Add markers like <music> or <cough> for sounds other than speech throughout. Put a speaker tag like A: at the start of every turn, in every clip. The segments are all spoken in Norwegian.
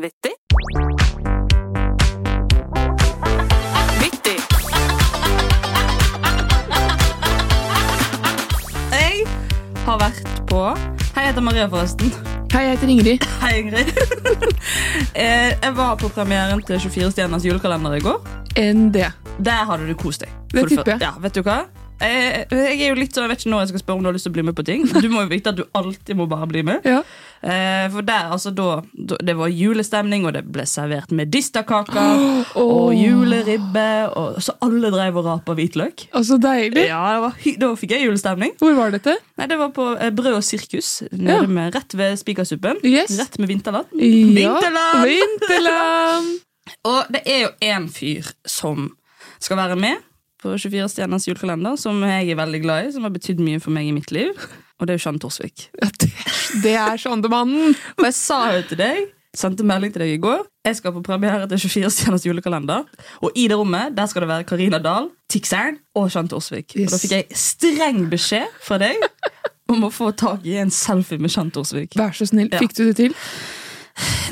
A: Vittig. Vittig. Jeg har vært på Hei, jeg heter Maria, forresten.
B: Hei, jeg heter Ingrid.
A: Hei, Ingrid. <laughs> Eh, jeg var på premieren til 24 stjerners julekalender i går.
B: ND.
A: Der hadde du kost deg.
B: Det
A: For
B: tipper jeg.
A: første. Ja, vet du hva? Eh, Jeg er jo litt så, jeg vet ikke når jeg skal spørre om du har lyst til å bli med på ting. Du må jo vite at du alltid må bare bli med.
B: Ja.
A: Eh, For der, altså da, da Det var julestemning, og det ble servert medisterkaker
B: <gasps>
A: og juleribbe. Og, så alle drev og rapa hvitløk.
B: Og så Altså, deilig.
A: Ja, det var, hy- Da fikk jeg julestemning.
B: Hvor var dette?
A: Nei, Det var på eh, Brød og sirkus,
B: Ja.
A: nede med, rett ved Spikersuppen.
B: Yes.
A: Rett med vinterland.
B: Ja,
A: Vinterland!
B: Vinterland!
A: Og det er jo én fyr som skal være med på 24 stjerners julekalender, som jeg er veldig glad i, som har betydd mye for meg i mitt liv. Og det er jo Jeanne Torsvik.
B: Ja, det, det er Sondemannen.
A: <laughs> Og jeg sa jo til deg, sendte melding til deg i går, jeg skal på premiere til 24 stjerners julekalender. Og i det rommet der skal det være Karina Dahl, Tixern og Jeanne Torsvik. Og da
B: Yes.
A: fikk jeg streng beskjed fra deg om å få tak i en selfie med Jeanne Torsvik.
B: Vær så snill.
A: Ja.
B: Fikk du det til?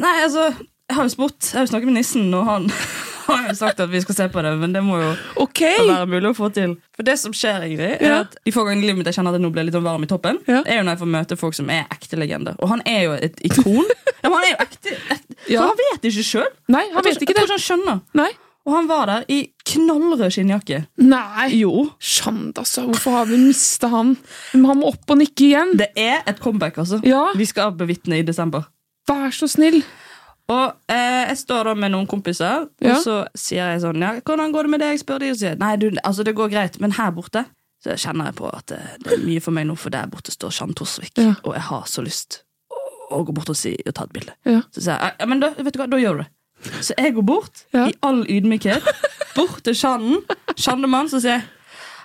A: Nei, altså, jeg har jo spurt, jeg har jo snakket med nissen, og han <laughs> har jo sagt at vi skal se på det, men det må jo
B: Ok!
A: å være mulig å få til. For det som skjer, Ingrid, er
B: Ja.
A: at de få ganger i livet mitt jeg kjenner at jeg nå blir litt sånn varm i toppen,
B: Ja.
A: er jo når jeg får møte folk som er ekte legender. Og han er jo et
B: <laughs>
A: ikon. ja, men han er jo ekte, ekte
B: Ja.
A: For han vet ikke sjøl.
B: Nei, han vet
A: Jeg
B: ikke det.
A: tror ikke han skjønner.
B: Nei.
A: Og han var der i knallrød skinnjakke.
B: Nei.
A: Jo.
B: Sjand, altså. Hvorfor har vi mista han? Men Han må opp og nikke igjen.
A: Det er et comeback, altså.
B: Ja,
A: Vi skal bevitne i desember.
B: vær så snill.
A: Og eh, Jeg står da med noen kompiser,
B: Ja.
A: og så sier jeg sånn ja, 'Hvordan går det med deg?' spør de, og sier nei, du, altså det går greit, men her borte så kjenner jeg på at det, det er mye for meg nå, for der borte står Jeanne Torsvik,
B: Ja.
A: og jeg har så lyst å, å gå bort og, si, og ta et bilde.
B: Ja.
A: Så sier jeg ja, men da, vet du hva, da gjør du det. Så jeg går bort,
B: Ja.
A: i all ydmykhet, bort til Jeanne, Jeannemann, så sier jeg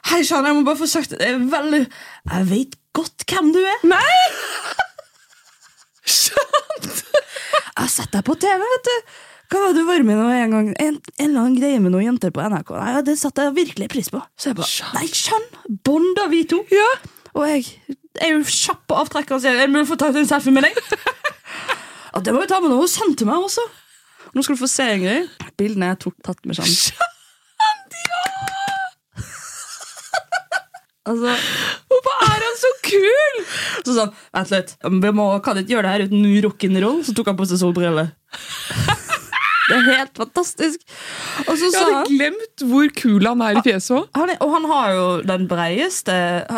A: 'Hei, Jeanne, jeg må bare få sagt det. Jeg er veldig Jeg vet godt hvem du er.
B: Nei!
A: Jeg har sett deg på TV, vet du. Hva var det du var med nå en gang? En, en eller annen greie med noen jenter på NRK. Nei, ja, Det satte jeg virkelig pris på. Så jeg bare,
B: Skjønn.
A: nei, skjønn! Bonda vi to.
B: Ja.
A: Og jeg er jo kjapp på avtrekker og sier, er det mulig å få tatt en selfie
B: <laughs>
A: med deg? ja, det må vi ta med noe. Hun sendte meg også. Nå skal du få se, Ingrid. Bildene jeg tok tatt med sånn. Jeanne. Altså,
B: Hvorfor er han så kul?
A: så sånn, vent litt, vi må, kan ikke gjøre det her uten rock'n'roll, så tok han på seg solbriller. Det er helt fantastisk. Og så
B: Jeg
A: sa
B: hadde
A: han,
B: glemt hvor kul han er i fjeset òg.
A: han er, og han har jo den breieste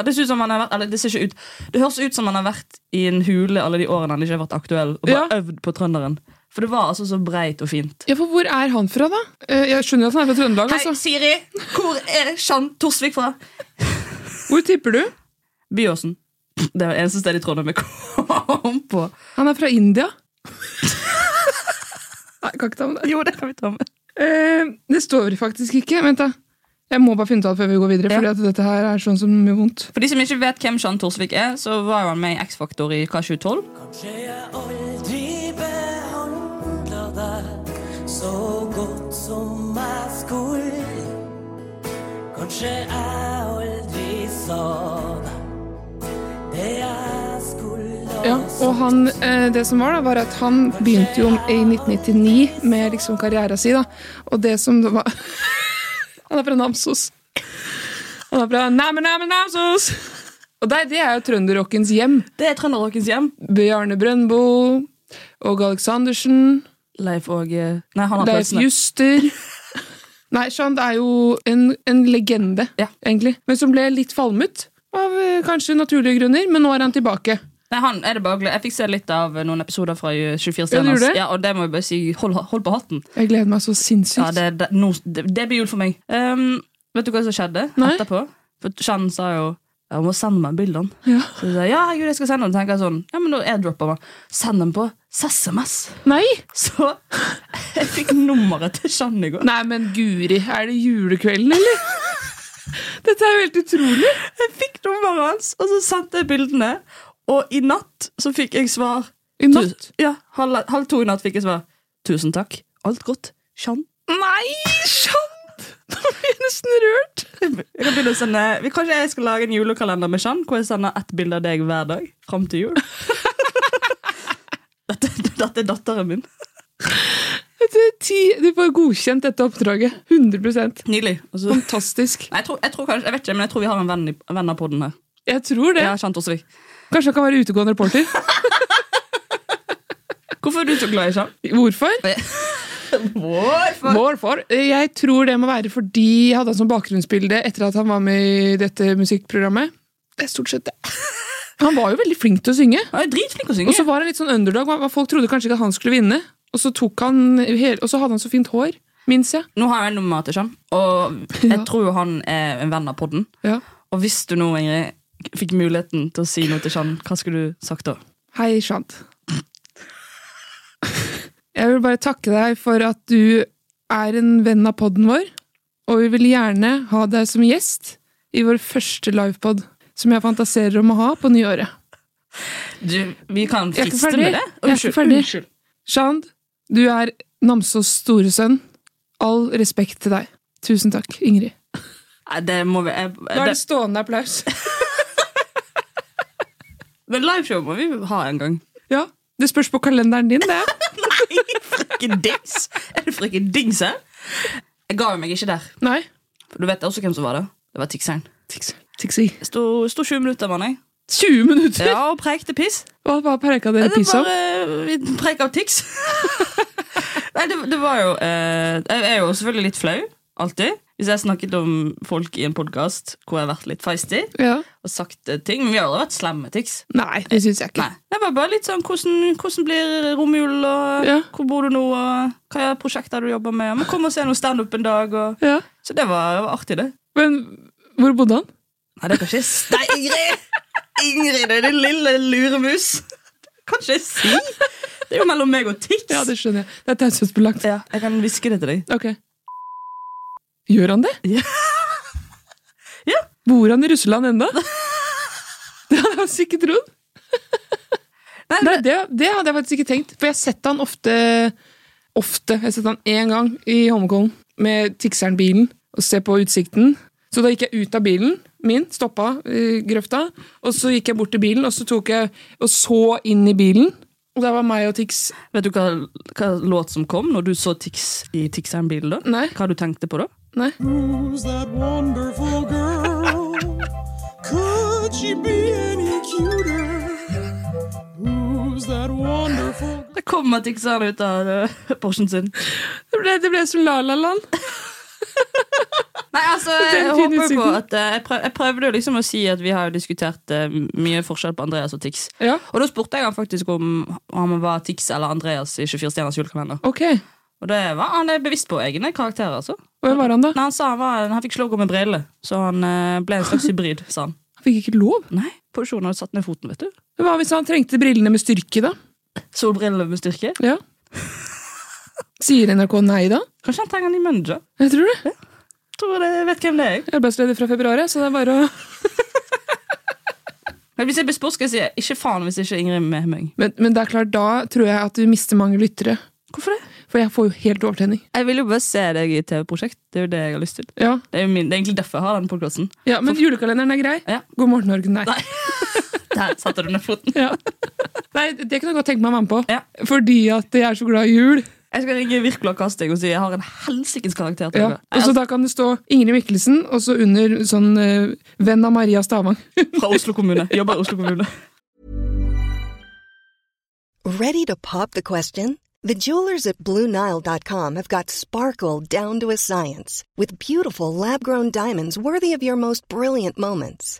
A: Det ser ut som han har vært Eller det ser ikke ut Det høres ut som han har vært i en hule alle de årene han ikke har vært aktuell, og bare
B: Ja.
A: øvd på trønderen. For det var altså så breit og fint.
B: Ja, for hvor er han fra, da? Eh, Jeg skjønner at han er fra Trøndelag. altså.
A: Siri! Hvor er Jeanne Torsvik fra?
B: Hvor tipper du?
A: Byåsen. Det var det eneste stedet i Trondheim jeg kom på.
B: Han er fra India. <laughs> Nei, jeg kan ikke ta med det.
A: Jo, det kan vi ta med.
B: Eh, det står det faktisk ikke. Vent, da. Jeg må bare finne ut av det før vi går videre,
A: Ja.
B: Fordi at dette her er sånn som gjør vondt.
A: For de som ikke vet hvem Jeanne Torsvik er, så var han med i X-Faktor i K2012.
C: Kanskje jeg aldri behandla deg så godt som jeg skulle. Kanskje jeg aldri sa deg det jeg skulle ha
B: Ja, og han, eh, det som var da, var at han begynte jo i 1999 med liksom karriera si, da. Og det som det var <laughs> Han er fra Namsos. Han er fra Næmen, Næmen, Namsos! Og det, det er jo trønderrockens hjem.
A: Det er Trønderrockens hjem.
B: Bjarne Brøndbo, Åge Aleksandersen,
A: Leif og eh, Nei, han har
B: Leif
A: pølsene.
B: Juster <laughs> Nei, Jean, det er jo en, en legende,
A: Ja.
B: egentlig. Men som ble litt falmet, av eh, kanskje naturlige grunner. Men nå er han tilbake.
A: Nei, han er det bare å gle- Jeg fikk se litt av eh, noen episoder fra eh, 24
B: Ja, du
A: stjerners.
B: gjorde det?
A: Ja, og det må jeg bare si. Hold, hold på hatten.
B: Jeg gleder meg så sinnssykt.
A: Ja, det, det, nå- det, det blir jul for meg. Ehm, vet du hva som skjedde
B: Nei.
A: etterpå? For Jeanne sa jo ja, hun må sende meg bildene.
B: Ja.
A: Så jeg sa ja, gud, jeg skal sende dem. Så tenker jeg sånn, ja, men da airdropper man. Send dem på SMS.
B: Nei!
A: Så <laughs> jeg fikk nummeret til Jeanne i går.
B: Nei, men guri, er det julekvelden, eller? <laughs> Dette er jo helt utrolig.
A: Jeg fikk nummeret hans, og så sendte jeg bildene. Og i natt så fikk jeg svar.
B: I natt.
A: Tu- Ja, halv, halv to i natt fikk jeg svar. Tusen takk. Alt godt. Jeanne.
B: Nei, sant! <laughs> Nå blir jeg nesten rørt.
A: Jeg kan begynne å sende, vi- kanskje jeg skal lage en julekalender med Jeanne, hvor jeg sender ett bilde av deg <laughs> hver dag fram til jul. dette, dette er datteren min.
B: Etter ti, du får godkjent dette oppdraget. 100
A: Nydelig. Altså, nei,
B: Fantastisk.
A: jeg, tror, jeg tror kanskje, jeg vet ikke, men jeg tror vi har en venn, i, en venn av podden her.
B: Jeg tror det.
A: Ja, Kjent Åsvik.
B: Kanskje jeg kan være utegående reporter.
A: Hvorfor er du så glad i Kjent?
B: Hvorfor?
A: Hvorfor?
B: Hvorfor? Jeg tror det må være fordi jeg hadde han som bakgrunnsbilde etter at han var med i dette musikkprogrammet. Det er stort sett det. <laughs> Han var jo veldig flink til å synge.
A: Han er dritflink å
B: Og
A: synge.
B: så var han litt sånn underdog. og Folk trodde kanskje ikke at han skulle vinne. Og så, tok han, hele- og så hadde han så fint hår, minnes jeg.
A: Nå har jeg nummeret til Kjent, og jeg tror han er en venn av podden.
B: Ja.
A: Og hvis du nå, Ingrid, fikk muligheten til å si noe til Kjent, hva skulle du sagt da?
B: Hei, Shant. <laughs> Jeg vil bare takke deg for at du er en venn av podden vår, og vi vil gjerne ha deg som gjest i vår første livepod, som jeg fantaserer om å ha på nyåret.
A: Du, vi kan
B: Jeg er ikke
A: friste
B: ferdig.
A: med det.
B: Jeg er ikke ferdig. Shant, du er Namsos store sønn. All respekt til deg. Tusen takk, Ingrid.
A: Nei, det må vi jeg,
B: Nå er
A: det,
B: det stående applaus.
A: Men liveshow må vi ha en <laughs> gang.
B: <laughs> Ja, det spørs på kalenderen din, det.
A: Frikken dings! Er det frikken dings her? Jeg ga jo meg ikke der.
B: Nei.
A: For du vet også hvem som var der. Det var Tixeren.
B: Tiksi.
A: Jeg Sto, sto 20 minutter, mann jeg.
B: 20 minutter!
A: Ja, og prekte piss.
B: Hva, hva preika dere
A: Det
B: piss om?
A: var eh, preik av <laughs> Tix. Nei, det, det var jo eh, Jeg er jo selvfølgelig litt flau. Alltid. Hvis jeg har snakket om folk i en podkast hvor jeg har vært litt feisty
B: Ja.
A: og sagt eh, ting. Men vi har aldri vært slemme med Tix.
B: Nei, det syns jeg ikke.
A: Nei, det var bare litt sånn hvordan, hvordan blir romjul, og
B: Ja.
A: hvor bor du nå, og hva er prosjekter du jobber med? Men kom og se noe standup en dag. Og...
B: Ja.
A: Så det var, det var artig, det.
B: Men hvor bodde han?
A: Nei, det kan ikke s- Nei, Ingrid! Ingrid, det er din lille luremus! Det kan ikke jeg si! Det er jo mellom meg og Tix.
B: Ja, det skjønner jeg. Det er taushetsbelagt.
A: Ja, jeg kan hviske det til deg.
B: Ok. Gjør han det?
A: <laughs> Ja. Ja.
B: Bor han i Russland ennå? <laughs> Det hadde jeg faktisk ikke trodd.
A: <laughs> Nei,
B: Nei, det, det hadde jeg faktisk ikke tenkt. For jeg har sett han ofte Ofte. Jeg har sett han én gang i Holmenkollen med Tixeren-bilen og se på utsikten. Så da gikk jeg ut av bilen min, stoppa i grøfta, og så gikk jeg bort til bilen, og så tok jeg og så inn i bilen. Og der var meg og Tix.
A: Vet du hva, hva låt som kom når du så Tix i Tixeren-bilen? da?
B: Nei.
A: Hva du tenkte på da?
B: Nei.
D: Who's that wonderful girl? Could she be any cuter? Who's that wonderful girl?
A: Da kommer Tixeren ut av <laughs> uh, Porschen sin.
B: Det ble, det ble som La La Land.
A: Nei, altså, jeg
B: Den fine
A: håper på
B: siden.
A: at eh, jeg, prøv, jeg prøvde jo liksom å si at vi har jo diskutert eh, mye forskjell på Andreas og Tix.
B: Ja,
A: Og da spurte jeg han faktisk om han var Tix eller Andreas i 24 stjerners julekalender.
B: ok.
A: Og det var han er bevisst på egne karakterer, altså.
B: Hvem var han da?
A: Nei, han sa han, var, han fikk slågå med briller, så han eh, ble en slags hybrid, sa han.
B: Han fikk ikke lov.
A: Nei, produksjonen hadde satt ned foten, vet du.
B: Hva hvis han trengte brillene med styrke, da?
A: Solbriller med styrke.
B: Ja. Sier NRK nei da?
A: Kanskje han trenger en ny manager.
B: Jeg tror det.
A: Tror det, jeg vet hvem det er. jeg.
B: Jeg er Arbeidsledig fra februar, jeg, så det er bare å
A: Men hvis jeg blir spurt, skal jeg si ikke faen hvis ikke Ingrid er med meg.
B: men, men det er klart, da tror jeg at du mister mange lyttere.
A: Hvorfor det?
B: For jeg får jo helt overtenning.
A: Jeg vil jo bare se deg i TV-prosjekt. Det er jo det jeg har lyst til.
B: Ja,
A: Det er, jo min, det er egentlig derfor jeg har den <laughs> podkasten.
B: ja Men julekalenderen er grei.
A: Ja.
B: God morgen, Norge, nei.
A: Nei. Der satte du ned foten.
B: Ja. nei. Det kunne jeg godt tenke meg å være med på.
A: Ja.
B: Fordi at jeg er så glad i jul.
A: Jeg skal ringe Wirkola Kasteg og si jeg har en helsikes karakter. til
B: Ja.
A: dere.
B: Og så Da kan det stå Ingrid Mikkelsen, og så under sånn eh, Venn av Maria Stavang. <laughs>
A: Fra Oslo kommune. Jobber i Oslo kommune.
E: Ready to pop the question? The jewelers at BlueNile.com have got sparkle down to a science with beautiful lab grown diamonds worthy of your most brilliant moments.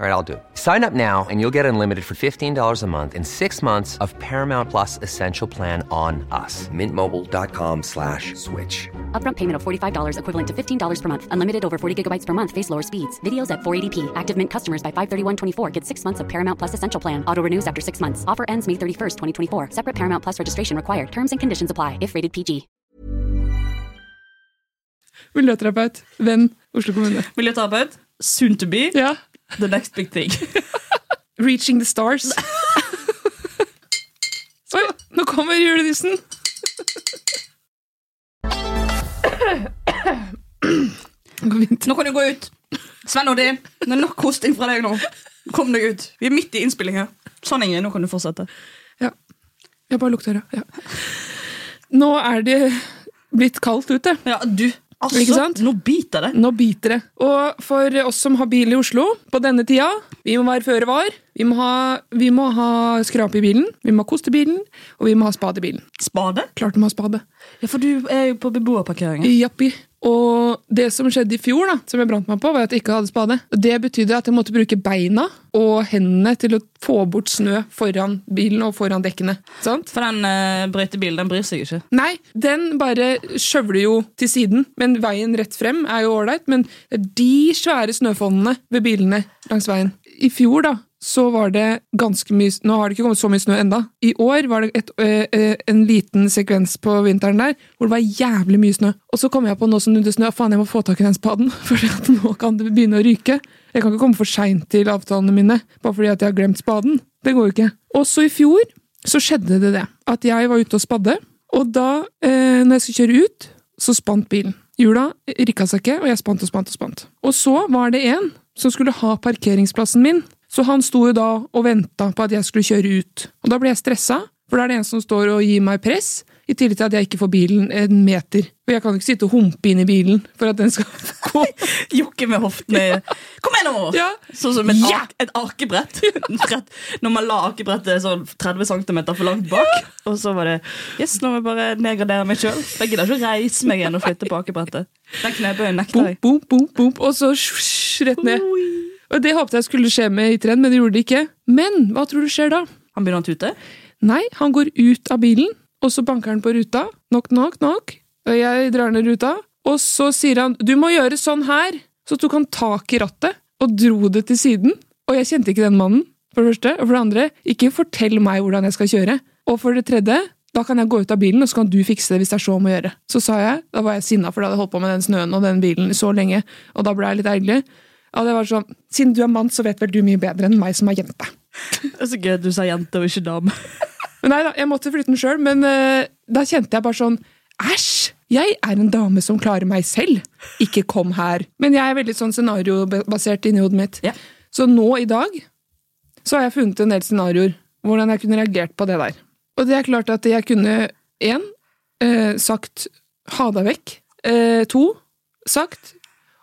F: All right, I'll do it. Sign up now and you'll get unlimited for $15 a month in six months of Paramount Plus Essential Plan on us. Mintmobile.com slash switch.
G: Upfront payment of $45 equivalent to $15 per month. Unlimited over 40 gigabytes per month. Face lower speeds. Videos at 480p. Active Mint customers by 531.24 get six months of Paramount Plus Essential Plan. Auto renews after six months. Offer ends May 31st, 2024. Separate Paramount Plus registration required. Terms and conditions apply if rated PG.
B: Miljøterapeut. Venn. Oslo kommune.
A: <laughs> Miljøterapeut. Soon to be.
B: Ja.
A: The next big thing.
B: Reaching the stars. Oi, nå kommer julenissen! Nå går vi inn til-
A: <laughs> Nå kan du gå ut. Sven Oddi, det er nok hosting fra deg nå. Kom deg ut. Vi er midt i innspilling her. Sånn, Ingrid, nå kan du fortsette.
B: Ja. Jeg bare lukter det. Ja. Nå er det blitt kaldt ute.
A: Ja, du. Altså,
B: Ikke sant?
A: nå biter det.
B: Nå biter det. Og for oss som har bil i Oslo på denne tida, vi må være føre var. Vi må ha, vi må ha skrape i bilen, vi må ha kost i bilen, og vi må ha spade i bilen.
A: Spade?
B: Klart vi må ha spade.
A: Ja, for du er jo på beboerparkeringen.
B: Jappi. Og det som skjedde i fjor, da, som jeg brant meg på, var at jeg ikke hadde spade. Og Det betydde at jeg måtte bruke beina og hendene til å få bort snø foran bilen og foran dekkene. Sant?
A: For den eh, brøytebilen, den bryr seg ikke.
B: Nei, den bare skjøvler jo til siden, men veien rett frem er jo ålreit. Men det er de svære snøfonnene ved bilene langs veien. I fjor, da, så var det ganske mye Nå har det ikke kommet så mye snø enda. I år var det et, ø, ø, en liten sekvens på vinteren der hvor det var jævlig mye snø. Og så kom jeg på nå som det er snø, faen, jeg må få tak i den spaden, <laughs> for at nå kan det begynne å ryke. Jeg kan ikke komme for seint til avtalene mine bare fordi at jeg har glemt spaden. Det går jo ikke. Også i fjor så skjedde det det. At jeg var ute og spadde, og da, eh, når jeg skulle kjøre ut, så spant bilen. Hjula rikka seg ikke, og jeg spant og spant og spant. Og så var det en som skulle ha parkeringsplassen min, så han sto jo da og venta på at jeg skulle kjøre ut. Og da ble jeg stressa, for da er det en som står og gir meg press, i tillegg til at jeg ikke får bilen en meter. Og jeg kan ikke sitte og humpe inn i bilen for at den skal <laughs> gå.
A: Jokke med hoftene. Kom igjen nå!
B: Ja.
A: Sånn som et,
B: Ja!
A: ak et akebrett. Rett- Når man la akebrettet sånn 30 cm for langt bak. Og så var det Yes, nå må jeg bare nedgradere meg sjøl. Jeg gidder ikke å reise meg igjen og flytte på akebrettet. Den knebøyen nekter
B: Bom,
A: jeg.
B: bom, bom, bom, og så sj- sj- rett ned. Og det håpet jeg skulle skje med i tren, men det gjorde det ikke. Men hva tror du skjer da?
A: Han begynner å tute.
B: Nei, han går ut av bilen, og så banker han på ruta. Knock, knock, knock. Og jeg drar ned ruta. Og så sier han 'du må gjøre sånn her'. Så tok han tak i rattet og dro det til siden. Og jeg kjente ikke den mannen, for det første. Og for det andre, ikke fortell meg hvordan jeg skal kjøre. Og for det tredje, da kan jeg gå ut av bilen, og så kan du fikse det hvis det er så om å gjøre. Så sa jeg, da var jeg sinna, for da hadde jeg holdt på med den snøen og den bilen så lenge. Og da ble jeg litt ergerlig. Ja, det var sånn, siden du er mann, så vet vel du mye bedre enn meg som er jente.
A: Det er så gøy at du sa jente og ikke dame.
B: Men nei da, jeg måtte flytte den sjøl, men eh, da kjente jeg bare sånn Æsj! Jeg er en dame som klarer meg selv. Ikke kom her. Men jeg er veldig sånn scenariobasert inni hodet mitt.
A: Ja.
B: Så nå i dag så har jeg funnet en del scenarioer. Hvordan jeg kunne reagert på det der. Og det er klart at jeg kunne én eh, sagt ha deg vekk. Eh, to sagt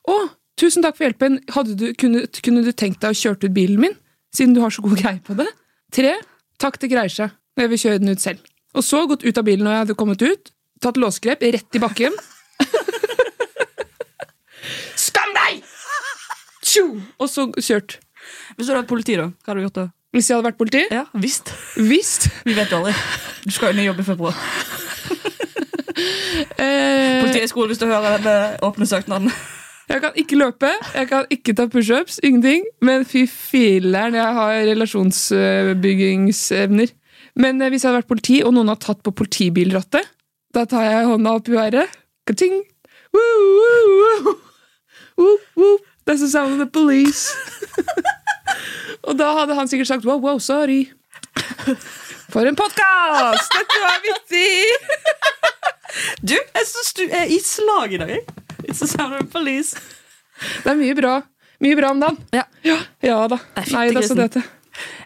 B: å, tusen takk for hjelpen. Hadde du, kunne, kunne du tenkt deg å kjøre ut bilen min? Siden du har så god greie på det. Tre, takk det greier seg. Jeg vil kjøre den ut selv. Og så gått ut av bilen når jeg hadde kommet ut. Tatt låsgrep rett i bakken. <laughs> Skam deg! Tjo! Og så kjørt.
A: Hvis du hadde vært politi, da? Hva hadde du gjort da?
B: Hvis jeg hadde vært politi?
A: Ja, visst.
B: Visst.
A: Vi vet jo aldri. Du skal jo ny jobb i februar.
B: Eh,
A: Politihøgskolen, hvis du hører denne åpne søknaden.
B: Jeg kan ikke løpe, jeg kan ikke ta pushups, ingenting. Men fy filler'n, jeg har relasjonsbyggingsevner. Men eh, hvis jeg hadde vært politi, og noen har tatt på politibilrattet, da tar jeg hånda opp i været. Ka-ting! Woo, woo, woo. Woo, woo. That's the sound of the police. <laughs> og da hadde han sikkert sagt wow, wow, sorry. For en podkast! Dette var vittig!
A: <laughs> Du, jeg syns du er i slag i dag. jeg. It's a sound of police.
B: Det er mye bra. Mye bra om dagen.
A: Ja.
B: Ja da.
A: Nei, fytti
B: Nei, det er så
A: grisen.
B: dette.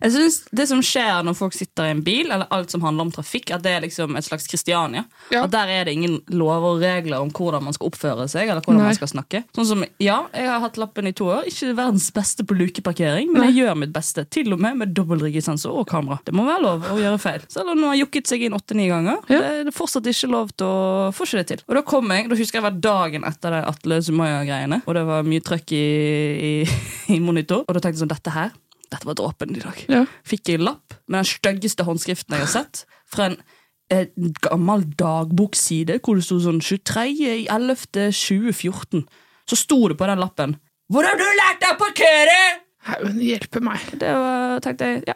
A: Jeg synes Det som skjer når folk sitter i en bil, eller alt som handler om trafikk, at det er liksom et slags Kristiania.
B: Ja.
A: At Der er det ingen lover og regler om hvordan man skal oppføre seg. eller hvordan
B: Nei.
A: man skal snakke. Sånn som, ja, Jeg har hatt lappen i to år. Ikke verdens beste på lukeparkering, men jeg gjør mitt beste. Til og med med dobbeltriggesensor og kamera. Det må være lov å gjøre feil. Selv om noen har jukket seg inn åtte-ni ganger.
B: Ja.
A: Det er det fortsatt ikke lov til å få ikke det til. Og Da kom jeg, da husker jeg det var dagen etter det Atle Sumaya-greiene, og det var mye trøkk i, i, <laughs> i monitor. Og da tenkte jeg sånn, dette her, dette var dråpen i dag
B: Ja.
A: fikk jeg lapp med den styggeste håndskriften jeg har sett. Fra en eh, gammel dagbokside hvor det sto sånn 23.11.2014. Så sto det på den lappen 'Hvor har du lært deg å parkere?'
B: Haugen hjelpe meg.
A: Det var, tenkte jeg, ja,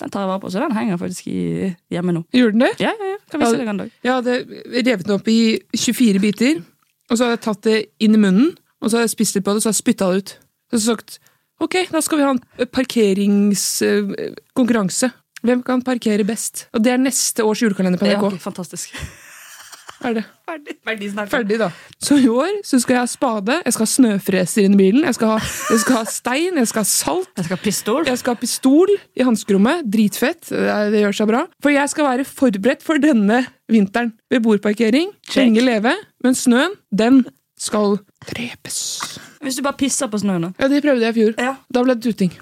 A: den tar jeg vare på, så den henger faktisk i, hjemme nå.
B: Gjorde den det?
A: Ja, ja, ja, kan vise
B: Ja,
A: deg en dag.
B: Jeg hadde revet den opp i 24 biter. Og så har jeg tatt det inn i munnen, og så har jeg spist litt på det, så har jeg spytta det ut. Så har jeg sagt ok, da skal vi ha en eh, parkeringskonkurranse. Hvem kan parkere best? Og det er neste års julekalender på
A: Ja,
B: NRK.
A: ok, fantastisk.
B: Er det.
A: <laughs> Ferdig. Ferdig
B: Ferdig, da. Så i år så skal jeg ha spade, jeg skal ha snøfreser inn i bilen, jeg skal ha, jeg skal ha stein, jeg skal ha salt.
A: Jeg skal ha pistol.
B: Jeg skal ha pistol i hanskerommet. Dritfett. Det er- det gjør seg bra. For jeg skal være forberedt for denne vinteren. Beboerparkering. Lenge leve. Men snøen, den skal drepes.
A: Hvis du bare pisser på snøen. da.
B: Ja, det prøvde jeg i fjor.
A: Ja.
B: Da ble det tuting.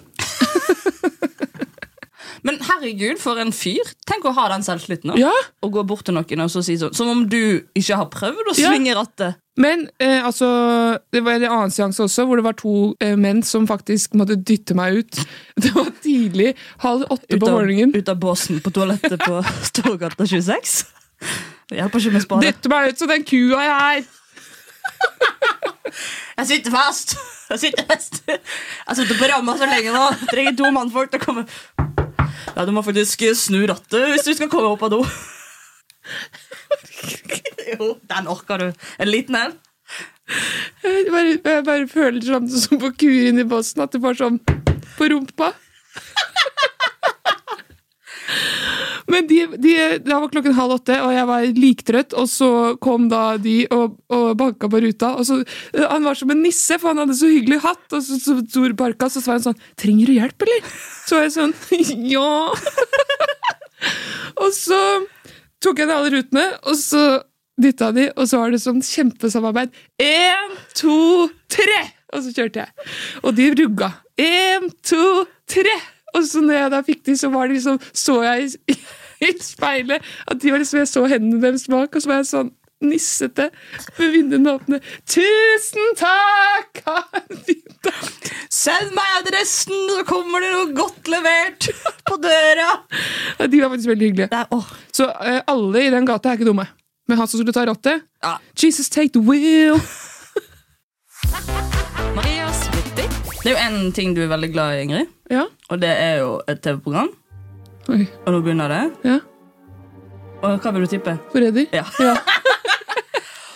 A: Men herregud, for en fyr. Tenk å ha den selvtilliten. da.
B: Ja,
A: Å gå bort til noen og så si sånn. Som om du ikke har prøvd å
B: Ja.
A: svinge rattet.
B: Men eh, altså, det var en annen seanse også, hvor det var to eh, menn som faktisk måtte dytte meg ut. <laughs> Det var tidlig. Halv åtte
A: Ut
B: på
A: av,
B: morgenen.
A: ut av båsen på toalettet
B: <laughs>
A: på Storgata 26. Det hjelper ikke med spade.
B: Dytte meg ut som den kua jeg er!
A: Jeg sitter fast! Jeg sitter fast! Jeg sitter på ramma så lenge nå. Jeg trenger to mannfolk til å komme. Ja, Du må faktisk snu rattet hvis du skal komme opp av do. Jo, den orker du. En liten en.
B: Jeg bare, jeg bare føler sånn som på kur inni bossen, at det bare sånn på rumpa. Men de, de, det var klokken halv åtte, og jeg var liktrøtt. Og så kom da de og, og banka på ruta. Og så, eh, han var som en nisse, for han hadde så hyggelig hatt. Og så, så stor barka, så var han sånn 'Trenger du hjelp, eller?' Så var jeg sånn <laughs> 'Ja'. Og så tok jeg ned alle rutene, og så dytta de, og så var det sånn kjempesamarbeid. Én, to, tre! Og så kjørte jeg. Og de rugga. Én, to, tre! Og så når jeg da fikk de, så var det liksom, så jeg i, <laughs> i speilet at de var liksom, jeg så hendene deres bak, og så var jeg sånn nissete med vinduene åpne. Tusen takk! <laughs> Ha en fin dag!
A: Send meg adressen, så kommer det noe godt levert på døra!
B: Ja, De var faktisk veldig hyggelige.
A: Det er, åh,
B: Så eh, alle i den gata er ikke dumme. Men han som skulle ta rattet
A: Ja.
B: Jesus, take the wheel!
A: det er jo en ting du er veldig glad i, Ingrid.
B: Ja.
A: Og det er jo et TV-program.
B: Oi.
A: Og nå begynner det.
B: Ja.
A: Og hva vil du tippe?
B: Forræder.
A: Ja.
B: Ja.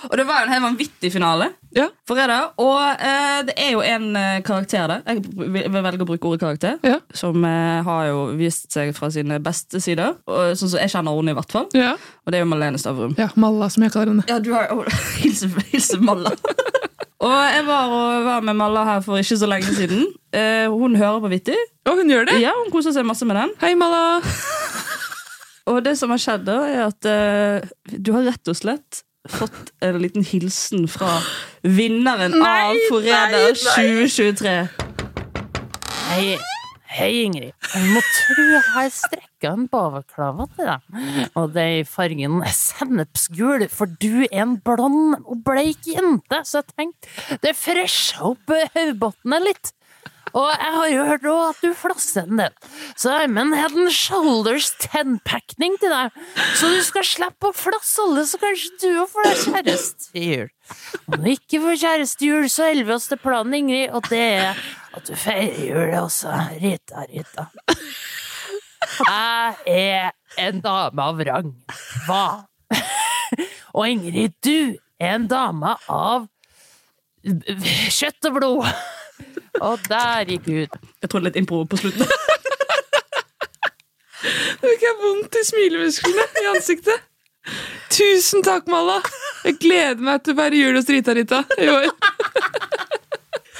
A: Og det var jo en helt vanvittig finale.
B: Ja.
A: Forræder. Og eh, det er jo en eh, karakter der. Jeg vil vil velge å bruke ordet karakter.
B: Ja.
A: Som eh, har jo vist seg fra sine beste sider. Og, sånn som jeg kjenner henne, i hvert fall.
B: ja.
A: Og det er jo Malene Stavrum.
B: ja. Malla, som jeg kaller henne.
A: Ja, du har oh, <laughs> hilse, hilse Malla. <laughs> og jeg var, og var med Malla her for ikke så lenge siden. Eh, hun hører på Vittig.
B: Og hun gjør det!
A: Ja, hun koser seg masse med den.
B: Hei, Malla!
A: Og det som har skjedd da, er at eh, du har rett og slett fått en liten hilsen fra vinneren av Forræder 2023.
H: Hei, hei Ingrid. Jeg må tro jeg har strekka en baveklava til deg. Og det er i fargen sennepsgul, for du er en blond og bleik jente. Så jeg tenkte det fresha opp eh, hodebunnen litt. Og jeg har jo hørt også at du flasser en del. Så jeg har med en Head and Shoulders 10-pakning til deg. Så du skal slippe å flasse alle, så kanskje du òg får deg kjæreste til jul. Om du ikke får kjæreste i jul, så holder vi oss til planen, Ingrid, og det er at du feirer jul også. Rita, Rita. Jeg er en dame av rang. Hva? Og Ingrid, du er en dame av kjøtt og blod. Og der gikk ut.
A: Jeg trodde litt impro på slutten.
B: Nå fikk jeg vondt i smilemusklene i ansiktet. Tusen takk, Malla! Jeg gleder meg til å være jul hos Rita-Rita i år.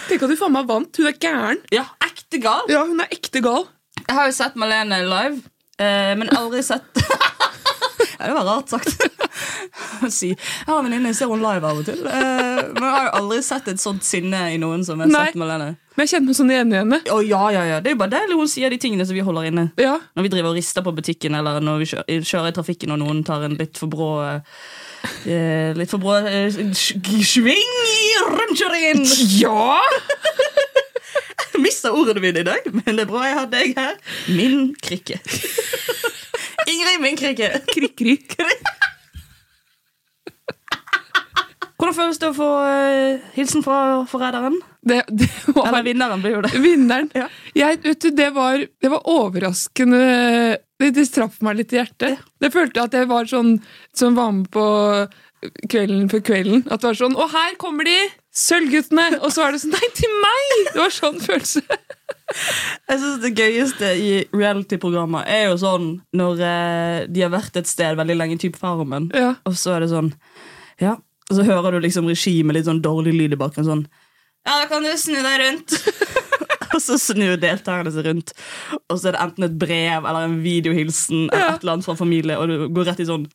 B: Tenk at du faen meg vant. Hun er gæren.
A: <laughs> ja, ekte gal.
B: Ja, hun er ekte gal.
A: Jeg har jo sett Malene live, eh, men aldri sett <laughs> Ja, Det var rart sagt. Å <laughs> si. Jeg har en venninne, jeg ser hun live av og til. eh, men jeg har jo aldri sett et sånt sinne i noen som jeg har
B: Nei.
A: sett Malene.
B: Men jeg kjenner meg sånn igjen i henne.
A: Å, ja, ja, ja. Det er jo bare deilig hun sier de tingene som vi holder inne.
B: Ja.
A: Når vi driver og rister på butikken, eller når vi kjører, kjører i trafikken og noen tar en litt for brå eh, Litt for brå eh, sj- sving i <laughs> rundkjøringen!
B: ja!
A: Mista ordene mine i dag, men det er bra jeg har deg her. Min krikke. Ingrid, min krikke.
B: Krik-krik.
A: Hvordan føles det å få eh, hilsen fra forræderen?
B: Det, det var
A: Eller vinneren, blir jo det.
B: <laughs> Vinneren.
A: Ja.
B: Jeg, vet du, det, var, det var overraskende Det, det traff meg litt i hjertet. Det følte jeg at jeg var sånn som var med på kvelden før kvelden. At det var sånn 'Å, her kommer de! Sølvguttene!' Og så er det sånn 'Nei, til meg!' Det var sånn følelse.
A: Jeg synes Det gøyeste i reality-programmer er jo sånn når eh, de har vært et sted veldig lenge, typ Farmen,
B: Ja.
A: og så er det sånn Ja, og så hører du liksom regimet litt sånn dårlig lyd i bakgrunnen sånn Ja, da kan du snu deg rundt. <laughs> og så snur deltakerne seg rundt, og så er det enten et brev eller en videohilsen eller et eller annet fra familie, og du går rett i sånn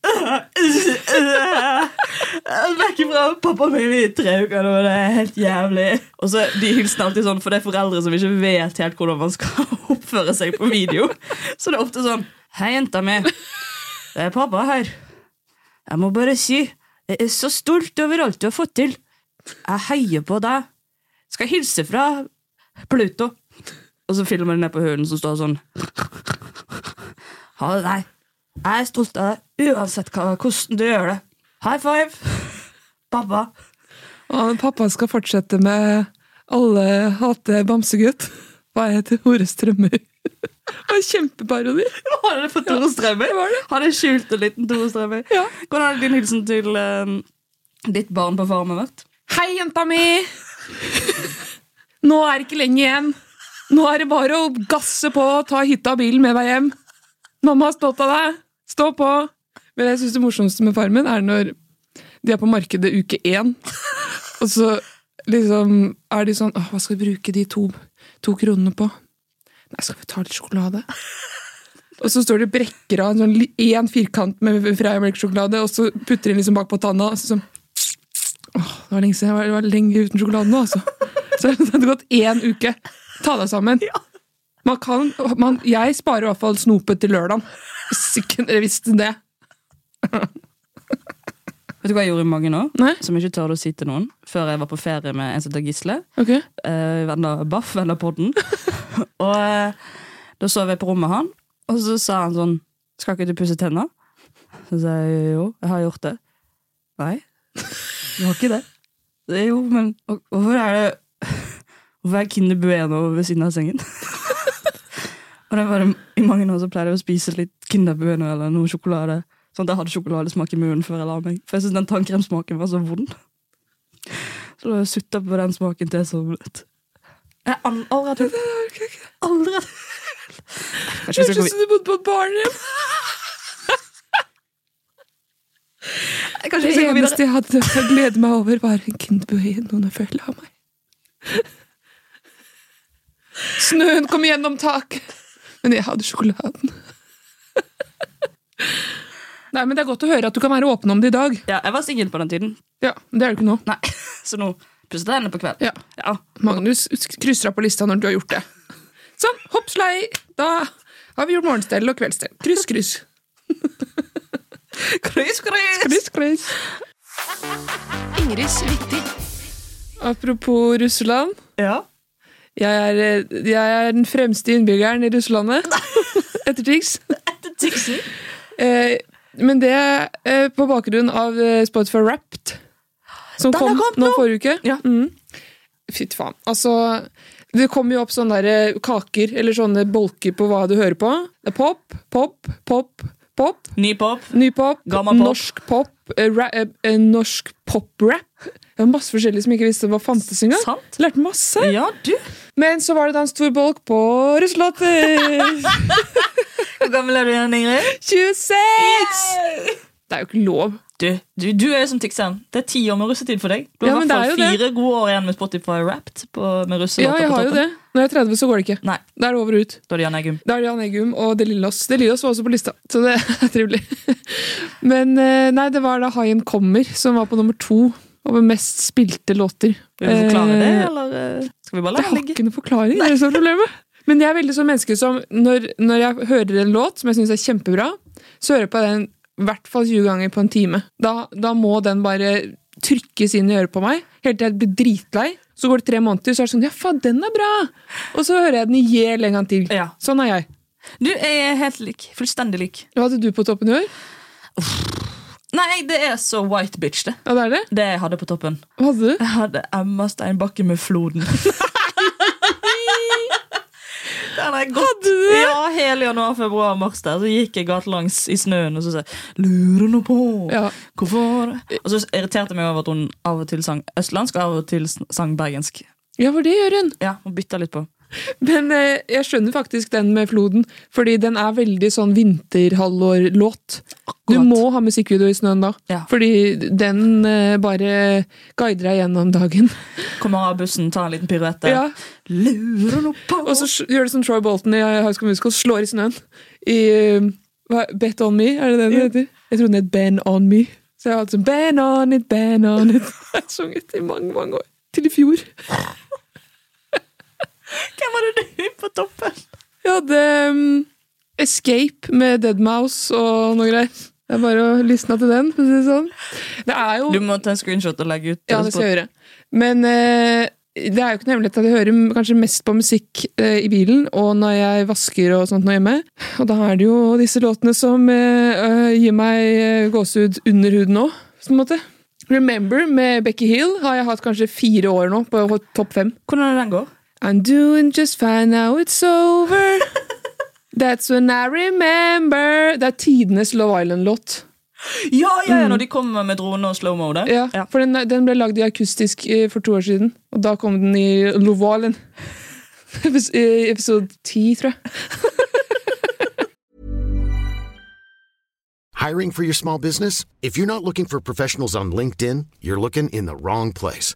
A: Vekk fra pappaen min i tre uker, nå, det er helt jævlig. Og så De hilser alltid sånn, for det er foreldre som ikke vet helt hvordan man skal <laughs> oppføre seg på video. Så det er ofte sånn Hei, jenta mi. Det er pappa her. Jeg må bare si jeg er så stolt over alt du har fått til. Jeg heier på deg. Skal hilse fra Pluto. Og så filmer de ned på hunden som står sånn. Ha det deg. Jeg er stolt av deg uansett hva, hvordan du gjør det. High five! <laughs> Pappa.
B: Og pappa skal fortsette med 'Alle hater bamsegutt'. Hva heter Hores drømmer? <laughs> Det var en kjempeparodi.
A: Var det for Tore Strømøy? Har det skjult en liten Tore Strømøy?
B: Ja.
A: Hvordan har din hilsen til eh, ditt barn på farmen vært?
B: Hei, jenta mi! Nå er det ikke lenge igjen. Nå er det bare å gasse på, ta hytta og bilen med deg hjem. Mamma er stolt av deg. Stå på. Men jeg synes det morsomste med Farmen er når de er på markedet uke én, og så liksom er de sånn Åh, hva skal vi bruke de to, to kronene på? Nei, skal vi ta litt sjokolade? Og så står det brekker av en sånn li- en firkant med Freia melkesjokolade, og så putter de den liksom bak på tanna. Og så sånn det var lenge siden jeg var, det var lenge uten sjokolade nå, altså. Så det hadde gått én uke. Ta deg sammen. Man kan, man, jeg sparer i hvert fall snopet til lørdagen. Sikkert dere visste det.
A: Vet du hva jeg gjorde i mange år?
B: Nei?
A: Som jeg ikke tør å si til noen. Før jeg var på ferie med en som heter Gisle.
B: Ok.
A: eh, venner Baff, venner podden. og eh, da sov jeg på rommet han, og så sa han sånn Skal ikke du pusse tenna? Så sa jeg jo, jeg har gjort det. Nei, du har ikke det. det jo, men og- hvorfor er det Hvorfor er Kinder Bueno ved siden av sengen? <laughs> og det var I mange år så pleide jeg å spise litt Kinder Bueno eller noe sjokolade. Sånn at jeg hadde sjokoladesmak i munnen før jeg la meg. For jeg syntes den tannkremsmaken var så vond. Så da sutta på den smaken til jeg sovnet. Jeg har an- aldri hatt <laughs> Aldri hatt Kanskje vi
B: Høres
A: skal
B: ut
A: gå,
B: som du bodde på et barnehjem.
A: vi- kanskje vi
B: Det
A: skal gå videre?
B: eneste jeg hadde å glede meg over, var en Kindbuie noen følte av meg. Snøen kom gjennom taket, men jeg hadde sjokoladen. Nei, men Det er godt å høre at du kan være åpen om det i dag.
A: Ja, jeg var singel på den tiden.
B: Ja, men Det er du ikke nå.
A: Nei, <laughs> Så nå pusset jeg henne på kveld.
B: Ja.
A: Ja.
B: Magnus krysser av på lista når du har gjort det. Sånn, hoppslei! Da har vi gjort morgenstell og kveldsstell. Kryss, kryss.
A: <laughs> Kryss, kryss!
B: Kryss, kryss. Apropos Russland.
A: Ja.
B: Jeg er, eh, jeg er den fremste innbyggeren i
A: <laughs>
B: Russlandet. Etter Tix.
A: Tixi.
B: Eh, men det er eh, på bakgrunn av eh, Spotify Wrapped, som
A: Den har
B: kom
A: kommet
B: nå
A: nå!
B: forrige uke.
A: Ja.
B: Mm. Fytti faen. Altså, det kommer jo opp sånne der eh, kaker, eller sånne bolker på hva du hører på. Det er pop, pop, pop, pop.
A: Ny pop.
B: Ny pop,
A: Gammel pop.
B: norsk pop, eh, ra, eh, eh, norsk pop-rap. Det var masse forskjellig som jeg ikke visste hva fantes engang.
A: Sant.
B: Lærte masse.
A: Ja, du.
B: Men så var det da en stor bolk på
A: <laughs>
B: russelåter.
A: Hvor gammel er du igjen, Ingrid?
B: 26! Det er jo ikke lov.
A: Du, du, du er jo som Tixen. Det er ti år med russetid for deg. Du har
B: Ja,
A: i
B: men
A: hvert fall
B: det er jo det.
A: fire gode år igjen med Spotify Wrapped på, med
B: Ja,
A: russelåter
B: jeg
A: på
B: har jo
A: toppen.
B: det. Når jeg er 30, så går det ikke.
A: Nei,
B: Da er det over og ut.
A: da er det Jan Eggum.
B: Da er det Jan Eggum og De Lillos. De Lillos var også på lista, så det <laughs> er trivelig. Men eh, nei, det var da Haien kommer, som var på nummer to over mest spilte låter.
A: Vil du forklare det,
B: Eh,
A: eller eh, skal vi bare la
B: Det
A: det
B: har
A: ligge?
B: ikke noen forklaring. det er det som er problemet. Men jeg er veldig sånn menneske som når, når jeg hører en låt som jeg syns er kjempebra, så hører jeg på den i hvert fall 20 ganger på en time. Da, da må den bare trykkes inn i øret på meg, helt til jeg blir dritlei. Så går det tre måneder, så er det sånn Ja, faen, den er bra! Og så hører jeg den i hjel en gang til.
A: Ja.
B: Sånn er jeg.
A: Du er helt lik. Fullstendig lik.
B: Hva hadde du på toppen i år?
A: Nei, det er så white bitch, det.
B: Ja, det er det.
A: Det jeg hadde på toppen.
B: Hva hadde du?
A: Jeg hadde Emma Steinbakke med Floden.
I: Den er godt. Ja, hele januar, februar, mars der. Så gikk jeg gatelangs i snøen og så sa jeg, Lurer nå på
B: Ja.
I: hvorfor Og så irriterte jeg meg over at hun av og til sang østlandsk og av og til sang bergensk.
B: Ja, for det gjør hun.
I: Ja, hun bytta litt på.
B: Men eh, jeg skjønner faktisk den med floden, fordi den er veldig sånn vinterhalvår-låt. Du
I: Akkurat.
B: må ha musikkvideo i snøen da,
I: Ja.
B: fordi den eh, bare guider deg gjennom dagen.
I: Kommer av bussen, tar en liten piruette.
B: Ja.
I: Lurer nå på
B: Og så sj- gjør det som Troy Bolton i High School Musical, slår i snøen. I eh, hva, Bet On Me, er det det den heter? Jeg trodde den het Ben On Me. Så jeg har hatt sånn Ben On It, Ben On It. <laughs> Jeg har sunget i mange, mange år. Til i fjor.
I: Hvem var det du på toppen?
B: Jeg hadde mm, Escape med Deadmouse og noe greier. Det er bare å lysne til den, for å si det sånn. Det er jo
I: Du må ta en screenshot og legge ut.
B: Ja, det skal jeg gjøre. Men eh, det er jo ikke noe hemmelighet at jeg hører m- kanskje mest på musikk eh, i bilen, og når jeg vasker og sånt nå hjemme. Og da er det jo disse låtene som eh, eh, gir meg eh, gåsehud under huden òg, på en måte. Remember med Becky Hill har jeg hatt kanskje fire år nå på ho- topp fem.
I: Hvordan er det den går?
B: I'm doing just fine now it's over. <laughs> That's when I remember. Det er tidenes Love Island-låt.
I: Ja, ja, ja, når de kommer med drone og slow-mo. det.
B: Ja,
I: Ja.
B: For den, den ble lagd i akustisk eh, for to år siden, og da kom den i Lovalen. <laughs> Epis- eh, Episode ti, tror jeg.
J: Hiring for your small business? If you're not looking for professionals on LinkedIn, you're looking in the wrong place.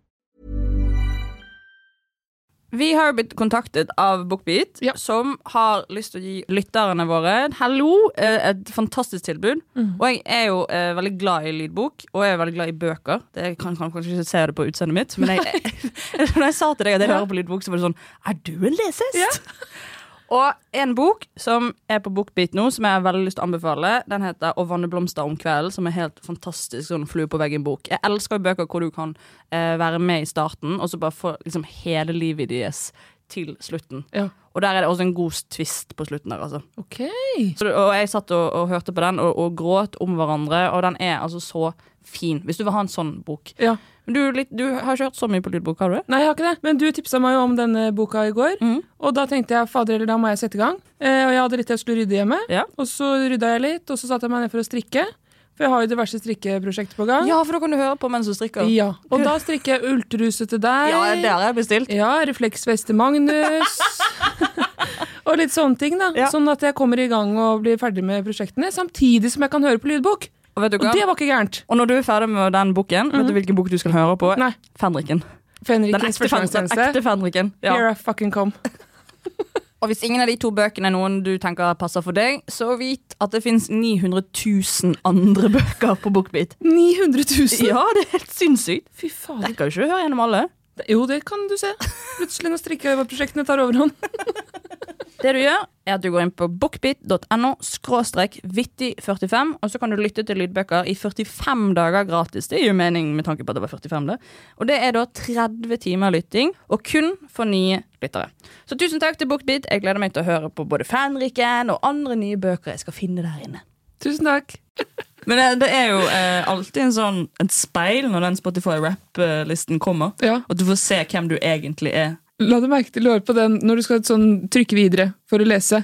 A: Vi har jo blitt kontaktet av Bookbeat,
B: Ja.
A: som har lyst til å gi lytterne våre en Hallo! eh, Et fantastisk tilbud. Og jeg er jo eh, veldig glad i lydbok, og jeg er veldig glad i bøker. Det jeg kan, kan kanskje ikke se det på utseendet mitt, men jeg, <laughs> når jeg sa til deg at jeg hører på lydbok, så var det sånn Er du en lesehest? Og en bok som er på Bookbeat nå, som jeg har veldig lyst til å anbefale, den heter Å vanne blomster om kvelden, som er helt fantastisk sånn flue på veggen-bok. Jeg elsker jo bøker hvor du kan eh, være med i starten, og så bare få liksom hele livet deres til slutten.
B: Ja.
A: Og der er det også en god twist på slutten der, altså.
B: Ok.
A: Så, det- og jeg satt og, og hørte på den, og, og gråt om hverandre, og den er altså så fin. Hvis du vil ha en sånn bok.
B: Ja.
A: Men du, litt, du har ikke hørt så mye på lydbok, har du det?
B: Nei, jeg har ikke det. Men du tipsa meg jo om denne boka i går. Og da tenkte jeg fader eller da må jeg sette i gang. Eh, og jeg hadde litt jeg skulle rydde hjemme.
A: Ja.
B: Og så rydda jeg litt, og så satte jeg meg ned for å strikke. For jeg har jo diverse strikkeprosjekter på gang.
A: Ja, for da kan du høre på mens du strikker.
B: Ja. Og da strikker jeg ultruse til deg.
A: Ja, der har jeg bestilt.
B: Ja, refleksvest til
A: <laughs>
B: Magnus. og litt sånne ting, da.
A: Ja.
B: Sånn at jeg kommer i gang og blir ferdig med prosjektene, samtidig som jeg kan høre på lydbok.
A: Og vet du
B: Og
A: hva?
B: det var ikke gærent.
A: Og når du er ferdig med den boken, vet du hvilken bok du skal høre på?
B: Mhm. Nei.
A: Fenriken. Den ekte,
B: Fenrikens
A: fen den ekte
B: førstegangstjeneste.
A: Fenriken. Ja.
B: Here I fucking come.
A: Og hvis ingen av de to bøkene er noen du tenker passer for deg, så vit at det fins 900 000 andre <laughs> bøker på Bookbeat.
B: 900 000!
A: Ja, det er helt sinnssykt.
B: Fy fader.
A: Rekker jo ikke å høre gjennom alle.
B: Jo, det kan du se. Plutselig når strikkeprosjektene tar overhånd.
A: Det du gjør, er at du går inn på bookbit.no skråstrek vittig45, og så kan du lytte til lydbøker i 45 dager gratis. Det gir jo mening med tanke på at det var 45, det. Og det er da 30 timer lytting, og kun for nye lyttere. Så tusen takk til Bookbit. Jeg gleder meg til å høre på både Fanriken og andre nye bøker jeg skal finne der inne.
B: Tusen takk.
I: Men det, det er jo eh, alltid en sånn, et speil når den Spotify-rap-listen kommer.
B: Ja.
I: At du får se hvem du egentlig er.
B: La du merke til å høre på den når du skal sånn, trykke videre for å lese?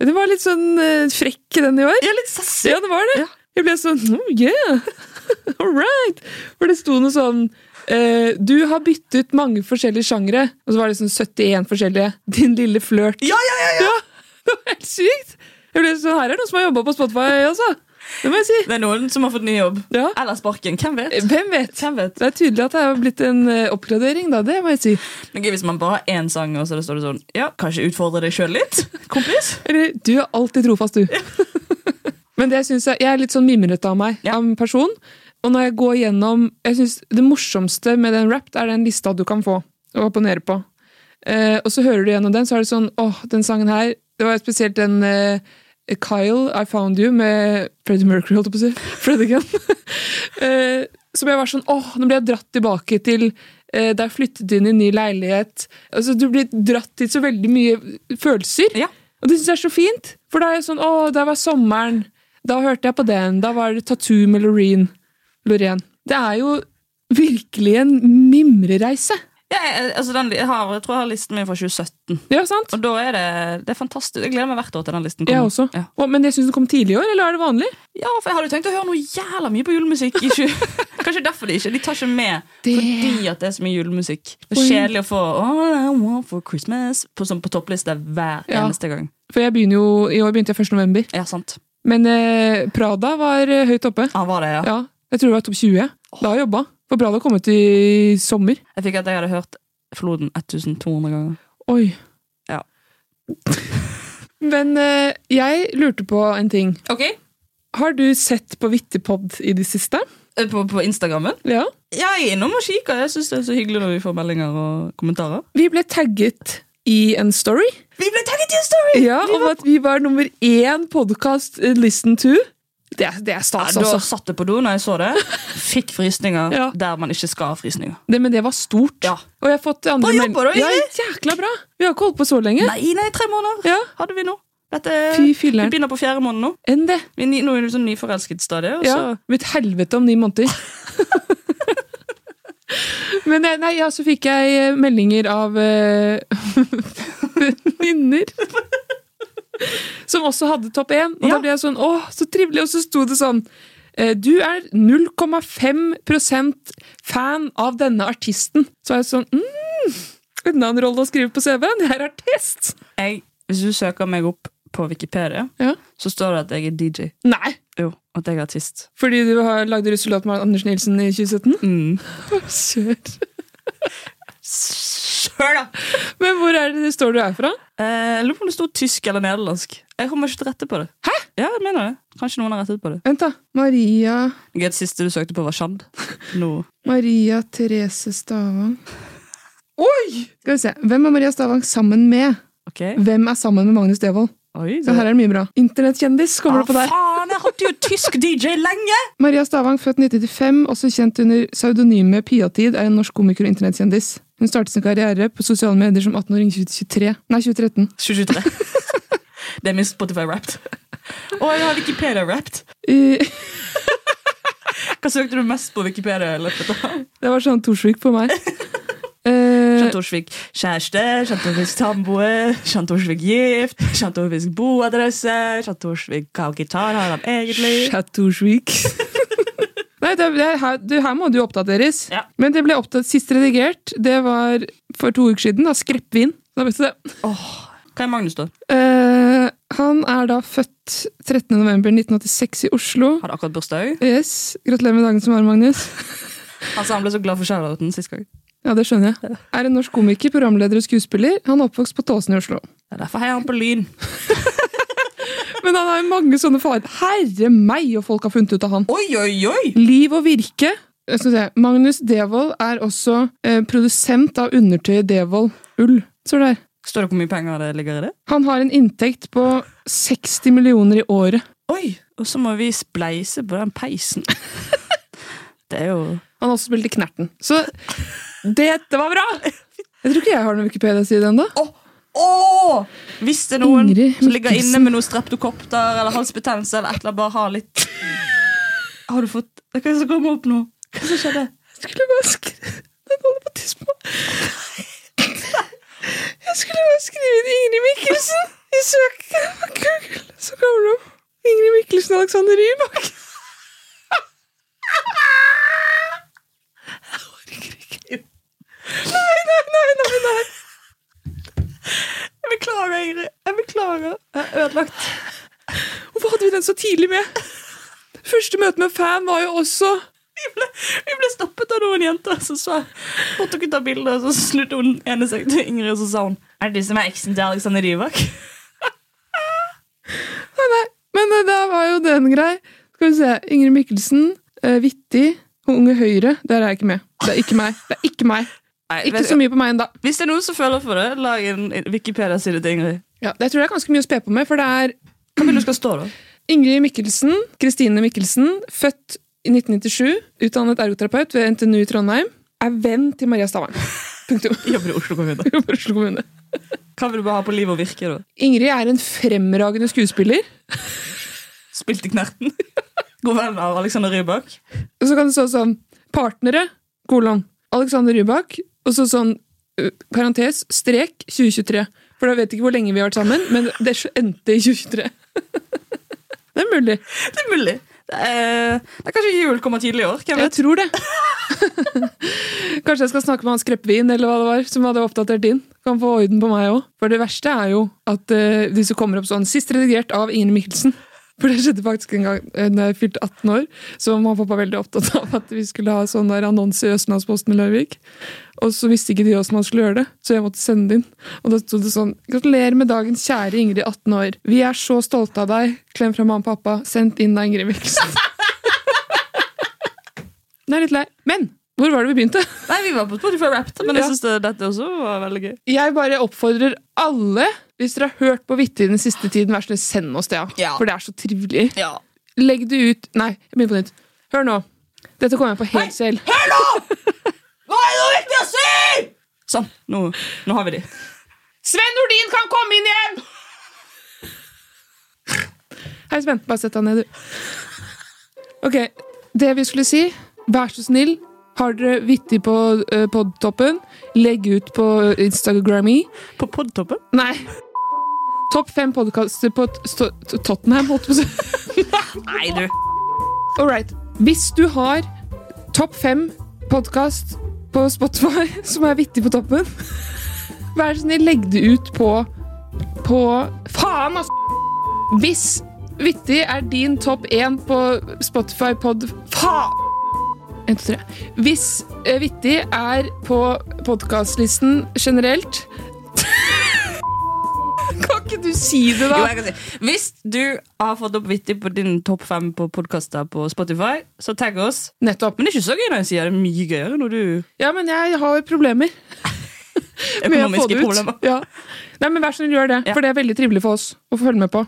B: Den var litt sånn eh, frekk, den i år.
I: Ja, litt sassy.
B: Ja, det var det. Jeg ble sånn oh, Yeah! <laughs> All right! For det sto noe sånn eh, Du har byttet mange forskjellige sjangere. Og så var det sånn 71 forskjellige. Din lille flørt.
I: Ja, ja, ja, ja.
B: <laughs> Det var helt sykt! Jeg ble sånn, Her er det noen som har jobba på Spotify, altså. Det må jeg si.
I: Det er noen som har fått ny jobb.
B: Ja.
I: Eller sparken. Hvem vet?
A: Eh,
B: Hvem vet?
I: Hvem vet?
B: Det er tydelig at det har blitt en eh, oppgradering, da. Det må jeg si.
I: Det er gøy hvis man bare har én sang, og så står det sånn Ja, kanskje utfordre deg sjøl
A: <laughs>
I: litt, kompis?
B: Eller du er alltid trofast, du. <laughs> Men det synes jeg, jeg er litt sånn mimrete av meg,
I: Ja.
B: av en person. Og når jeg går gjennom jeg synes Det morsomste med den rap, det er den lista du kan få å abonnere på. Eh, og så hører du gjennom den, så er det sånn åh, den sangen her Det var spesielt den eh, Kyle, I Found You med Freddie Mercury, holdt jeg på å si. <laughs> Freddie Gunn. Eh, som jeg var sånn åh, nå ble jeg dratt tilbake til eh, da jeg flyttet inn i en ny leilighet. Altså, Du blir dratt til så veldig mye følelser.
A: Ja.
B: Og det syns jeg er så fint. For da er jeg sånn åh, der var sommeren. Da hørte jeg på den. Da var det Tattoo med Loreen. Loreen. Det er jo virkelig en mimrereise.
A: Ja, jeg, altså den, jeg, har, jeg tror jeg har listen min fra 2017.
B: Ja, sant?
A: Og da er det, det er fantastisk. Jeg gleder meg hvert år til den listen kommer.
B: Jeg også.
A: Ja.
B: Å, men jeg syns den kom tidlig i år, eller er det vanlig?
A: Ja, for jeg hadde jo tenkt å høre noe jævla mye på julemusikk. I 20. <laughs> Kanskje derfor de ikke. De tar ikke med
B: Det-
A: fordi at det er så mye julemusikk. Det er kjedelig å få All I Want for Christmas på, sånn på topplista hver
B: Ja.
A: eneste gang.
B: For jeg begynner jo, I år begynte jeg 1. november.
A: Ja, sant.
B: Men eh, Prada var eh, høyt oppe.
A: Ja, var det, ja.
B: Ja, Jeg tror det var topp 20. Da har jeg jobba. For Prada kom ut i sommer.
A: Jeg fikk at jeg hadde hørt Floden 1200 ganger.
B: Oi.
A: Ja.
B: <laughs> Men eh, jeg lurte på en ting.
A: Ok,
B: Har du sett på Vittipod i det siste?
A: Eh, På, på Instagrammen?
B: Ja.
A: Ja, jeg er innom og kikker. Jeg syns det er så hyggelig når vi får meldinger og kommentarer.
B: Vi ble tagget i en story
A: Vi ble tagget i en story!
B: ja, om at vi var nummer én podkast listen to. Det, er- det er stas,
A: Ja, da
B: altså.
A: satt jeg på do når jeg så det.
B: <laughs>
A: Fikk frysninger
B: Ja.
A: der man ikke skal ha frysninger.
B: Det, men det var stort.
A: Ja.
B: Og jeg har fått andre
A: Bra
B: meld-
A: jobba, da,
B: Ja,
A: Ingrid.
B: jækla bra! Vi har ikke holdt på så lenge.
A: Nei, nei, tre måneder
B: Ja.
A: hadde vi nå. Dette,
B: Fy
A: vi
B: filleren.
A: begynner på fjerde måned nå.
B: Enn det.
A: Vi er ny, nå er vi sånn nyforelsket stadig. Og
B: Ja,
A: så,
B: mitt helvete om ni
A: <laughs>
B: måneder. Men eh, nei, ja, så fikk jeg eh, meldinger av eh, <laughs> venninner. Som også hadde topp én. Og da
A: Ja.
B: ble jeg sånn åh, så trivelig. Og så sto det sånn eh, Du er 0,5 fan av denne artisten. Så var jeg sånn mm, Enda en rolle å skrive på CV-en. Jeg er artist!
A: jeg, hvis du søker meg opp på Wikipedia,
B: Ja.
A: så står det at jeg er DJ.
B: Nei!
A: Jo, at jeg er artist.
B: Fordi du har lagde russelåt med Anders Nilsen i 2017? Kjør.
A: Sjøl, da!
B: Men hvor er det det står du er fra?
A: Eh, jeg lurer på om det sto tysk eller nederlandsk. Jeg kommer ikke til rette på det. Hæ? Ja, jeg mener det. Kanskje noen har rettet på det.
B: Vent, da. Maria
A: Gøy, det siste du søkte på, var <laughs> Shand. Nå.
B: Maria Therese Stavang. Oi! Skal vi se. Hvem er Maria Stavang sammen med?
A: Ok.
B: Hvem er sammen med Magnus Devold?
A: Oi,
B: Så her er det mye bra. Internettkjendis kommer det på der.
A: faen, jeg hadde jo tysk DJ lenge!
B: Maria Stavang, født 1995, også kjent under pseudonymet Piatid, er en norsk komiker og internettkjendis. Hun startet sin karriere på sosiale medier som 18-åring i 2023. Nei, 2013.
A: 2023. <laughs> det er min Spotify-rapped. Og jeg har Wikipedia-rapped.
B: I- <laughs>
A: Hva søkte du mest på Wikipedia? i løpet av?
B: Det var sånn Torsvik på <laughs> meg. Eh,
A: Kjent Torsvik kjæreste, kjent Torsvik samboer, kjent Torsvik gift, kjent Torsvik boadresse, kjent Torsvik hva gitar har han egentlig?
B: Chateauchvik. Nei, det, det, her, du, her må det jo oppdateres.
A: Ja.
B: Men det ble oppdatert sist redigert. Det var for to uker siden. da, Skreppvin. Da vet du det.
A: Hva er Magnus, da?
B: Eh, han er da født 13.11.1986 i Oslo.
A: Hadde akkurat bursdag.
B: Yes. Gratulerer med dagen som var, Magnus.
A: Han sa han ble så glad for shout-outen sist gang.
B: Ja, det skjønner jeg. Er en norsk komiker, programleder og skuespiller. Han er oppvokst på Tåsen i Oslo.
A: Det er derfor heier han på Lyn.
B: Men han har jo mange sånne farer. Herre meg, og folk har funnet ut av han.
A: Oi, oi, oi!
B: Liv og virke. Jeg skal se. Magnus Devold er også eh, produsent av undertøyet Devold Ull. Står det her.
A: Står det hvor mye penger det ligger i det?
B: Han har en inntekt på 60 millioner i året.
A: Oi, og så må vi spleise på den <laughs> peisen. det er jo
B: Han har også spilt i Knerten. Så dette var bra! Jeg tror ikke jeg har noen Wikipedia-side ennå.
A: Åh! Åh! Hvis det er noen
B: Ingrid
A: som ligger
B: Mikkelsen.
A: inne med noe streptokopter eller halsbetennelse eller et eller annet, bare ha litt <laughs> Har du fått Hva er det som kommer opp nå? Hva er det som skjedde?
B: Jeg skulle bare skrive Den holder på å tisse på meg. Jeg skulle bare skrive inn Ingrid Mikkelsen i søkeren på Google, så kommer det
A: <laughs>
B: opp Ingrid Mikkelsen og Alexander Rybak.
A: Jeg beklager, Ingrid. Jeg beklager. Jeg er ødelagt.
B: Hvorfor hadde vi den så tidlig med? Første møte med fan var jo også
A: Vi ble, vi ble stoppet av noen jenter som sa Måtte dere ta bilde? Og så snudde hun ene seg til Ingrid, og så sa hun Er det du som er eksen til Alexander Rybak? <laughs>
B: Nei, nei. Men eh, da var jo den grei. Skal vi se. Ingrid Mikkelsen, eh, Vittig og Unge Høyre. Der er jeg ikke med. Det er ikke meg. Det er ikke meg. Ikke så mye på meg ennå.
A: Hvis det er noen som føler for det, lag en Wikipedia-side til Ingrid.
B: Ja, det tror jeg er ganske mye å spe på med, for det er
A: Hva vil du skal stå, da?
B: Ingrid Mikkelsen, Kristine Mikkelsen, født i 1997, utdannet ergoterapeut ved NTNU i Trondheim, er venn til Maria Stavang. <laughs> Punktum.
A: Jobber i Oslo kommune.
B: Jobber i Oslo kommune.
A: Hva vil du bare ha på liv og virke, da?
B: Ingrid er en fremragende skuespiller.
A: Spilt i Knerten? <laughs> God venn av Alexander Rybak?
B: Og så kan det stå sånn Partnere, kolon, Alexander Rybak, og så sånn ø, parentes, strek, 2023. For da vet jeg ikke hvor lenge vi har vært sammen, men det endte i 2023. <laughs> Det er mulig.
A: Det er mulig. Det er, det er kanskje jul kommer tidlig i år. Hvem
B: Jeg
A: vet?
B: tror det. <laughs> Kanskje jeg skal snakke med Hans Kreppvin, eller hva det var, som hadde oppdatert din. Kan få orden på meg òg. For det verste er jo at eh, de som kommer opp sånn Sist redigert av Ingrid Mikkelsen. <laughs> For det skjedde faktisk en gang eh, når jeg fylte 18 år. Så var mamma og pappa var veldig opptatt av at vi skulle ha sånn der annonse i Østlandsposten i Larvik. Og så visste ikke de hvordan man skulle gjøre det, så jeg måtte sende det inn. Og da sto det sånn Gratulerer med dagen, kjære Ingrid, 18 år. Vi er så stolte av deg. Klem fra mamma og pappa. Sendt inn av Ingrid Mikkelsen. Det er litt lei. Men hvor var det
A: <laughs>
B: vi begynte?
A: Nei, vi var på Spotify Wrapped, men
B: Ja.
A: jeg syns dette også var veldig gøy.
B: Jeg bare oppfordrer alle, hvis dere har hørt på Vittig den siste tiden, vær så snill, send oss det.
A: Ja.
B: For det er så trivelig.
A: Ja.
B: Legg det ut Nei, jeg begynner på nytt. Hør nå. Dette kommer jeg på helt selv.
A: Hva er det viktig å si?! Sånn. Nå, nå har vi de.
B: Sven Nordin kan komme inn igjen! Hei, Sven. Bare sett deg ned, du. Ok, det vi skulle si Vær så snill, har dere Vittig på uh, podtoppen, legg ut på Instagrammy.
A: På podtoppen.
B: Nei. Topp fem podkaster på t- sto- t- Tottenham, holdt jeg på å si.
A: Nei, du.
B: Alright. Hvis du har topp fem podkast på Spotify <laughs> som er vittig på toppen, <laughs> vær så snill, legg det ut på På Faen, altså! Hvis vittig er din topp én på Spotify pod Faen! En, to, tre. Hvis eh, vittig er på podkastlisten generelt <laughs> Kan ikke du si det, da?
A: Jo, jeg kan si. Hvis du har fått opp vittig på din topp fem på podkaster på Spotify, så tagg oss.
B: Nettopp.
A: Men det er ikke så gøy når jeg sier det. Det er mye gøyere når du
B: Ja, men jeg har
A: <laughs>
B: problemer. med å få
A: Økonomiske
B: det ut.
A: problemer.
B: Ja. Nei, men Vær så snill, gjør det.
A: Ja.
B: For det er veldig trivelig for oss å få følge med på.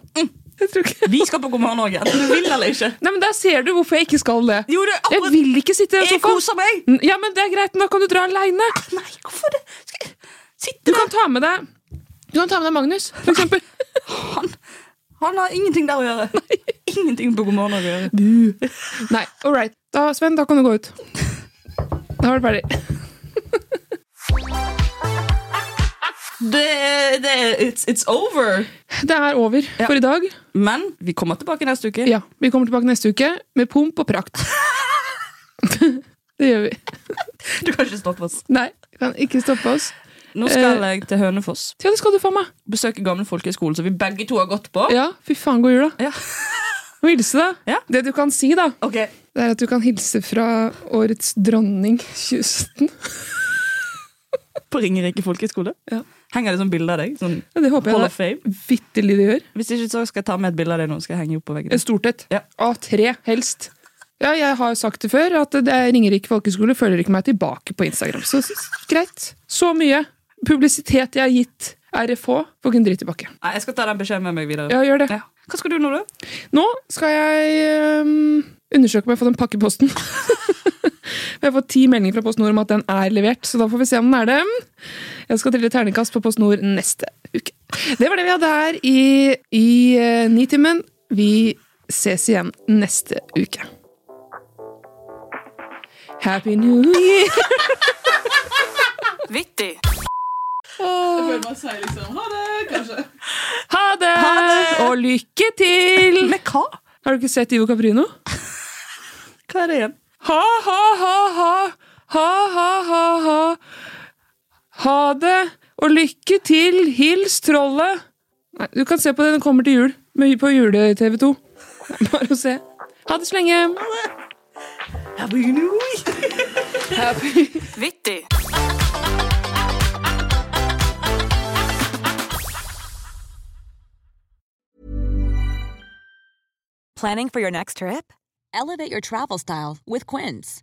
B: Jeg tror ikke.
A: Vi skal på God morgen Norge, enten du vil eller ikke.
B: Nei, men Der ser du hvorfor jeg ikke skal det.
A: Jo, det er akkurat-
B: Jeg vil ikke sitte i en
A: Jeg
B: sofa.
A: koser meg!
B: N- Ja, men det er greit, men da kan du dra aleine.
A: Nei, hvorfor det? Skal jeg
B: Du
A: sitte
B: kan ta med deg Du kan ta med deg Magnus,
A: <laughs>
B: for eksempel.
A: han, han har ingenting der å gjøre. Ingenting på God morgen Norge å gjøre.
B: Nei, all right. Da, Sven, da kan du gå ut. Da var det ferdig.
A: Det, er- det, er- it's, it's over.
B: Det er over for i dag.
A: Men vi kommer tilbake neste uke.
B: Ja, Vi kommer tilbake neste uke med pomp og
A: <laughs>
B: prakt. <laughs> det gjør vi.
A: Du kan ikke stoppe oss.
B: Nei, kan ikke stoppe oss.
A: Nå
B: Eh.
A: skal jeg til Hønefoss.
B: Ja, det skal du få meg.
A: Besøke gamle folkehøyskolen som vi begge to har gått på.
B: Ja, fy faen, god jul, da.
A: Ja.
B: Og hilse, da.
A: Ja.
B: Det du kan si, da,
A: Ok.
B: det er at du kan hilse fra årets dronning 2017.
A: På Ringerike folkehøgskole.
B: Ja.
A: Henger det sånn bilde av deg? Sånn
B: Ja, det håper
A: Hall of
B: jeg
A: Fame?
B: da vitterlig du gjør.
A: Hvis ikke, så skal jeg ta med et bilde av deg nå. Skal jeg henge opp på veggen.
B: Et stort et.
A: Ja.
B: Av tre, helst. Ja, jeg har jo sagt det før, at det er Ringerike folkeskole følger ikke meg tilbake på Instagram. Så s- greit. Så mye publisitet jeg har gitt RFH, får ikke en dritt tilbake.
A: Nei, jeg skal ta den beskjeden med meg videre.
B: Ja, gjør det.
A: Ja. Hva skal du nå, da?
B: Nå skal jeg øhm, undersøke om jeg har fått en pakke i posten. <laughs> Vi har fått ti meldinger fra PostNord om at den er levert, så da får vi se om den er det. Jeg skal trille terningkast på PostNord neste uke. Det var det vi hadde her i, i eh, Nitimen. Vi ses igjen neste uke. Happy New Year!
K: Vittig.
B: liksom. Ha det! Og lykke til!
A: Med hva?
B: Har du ikke sett Ivo Caprino?
A: Hva er det igjen?
B: Ha, ha, ha, ha. Ha, ha, ha, ha. Ha det, og lykke til. Hils trollet. Nei, du kan se på det, den kommer til jul. Med, på jule-TV 2. <laughs> Bare å se. Ha det så lenge.
K: Vittig.
L: Planning for your next trip? Elevate your travel style with Quince.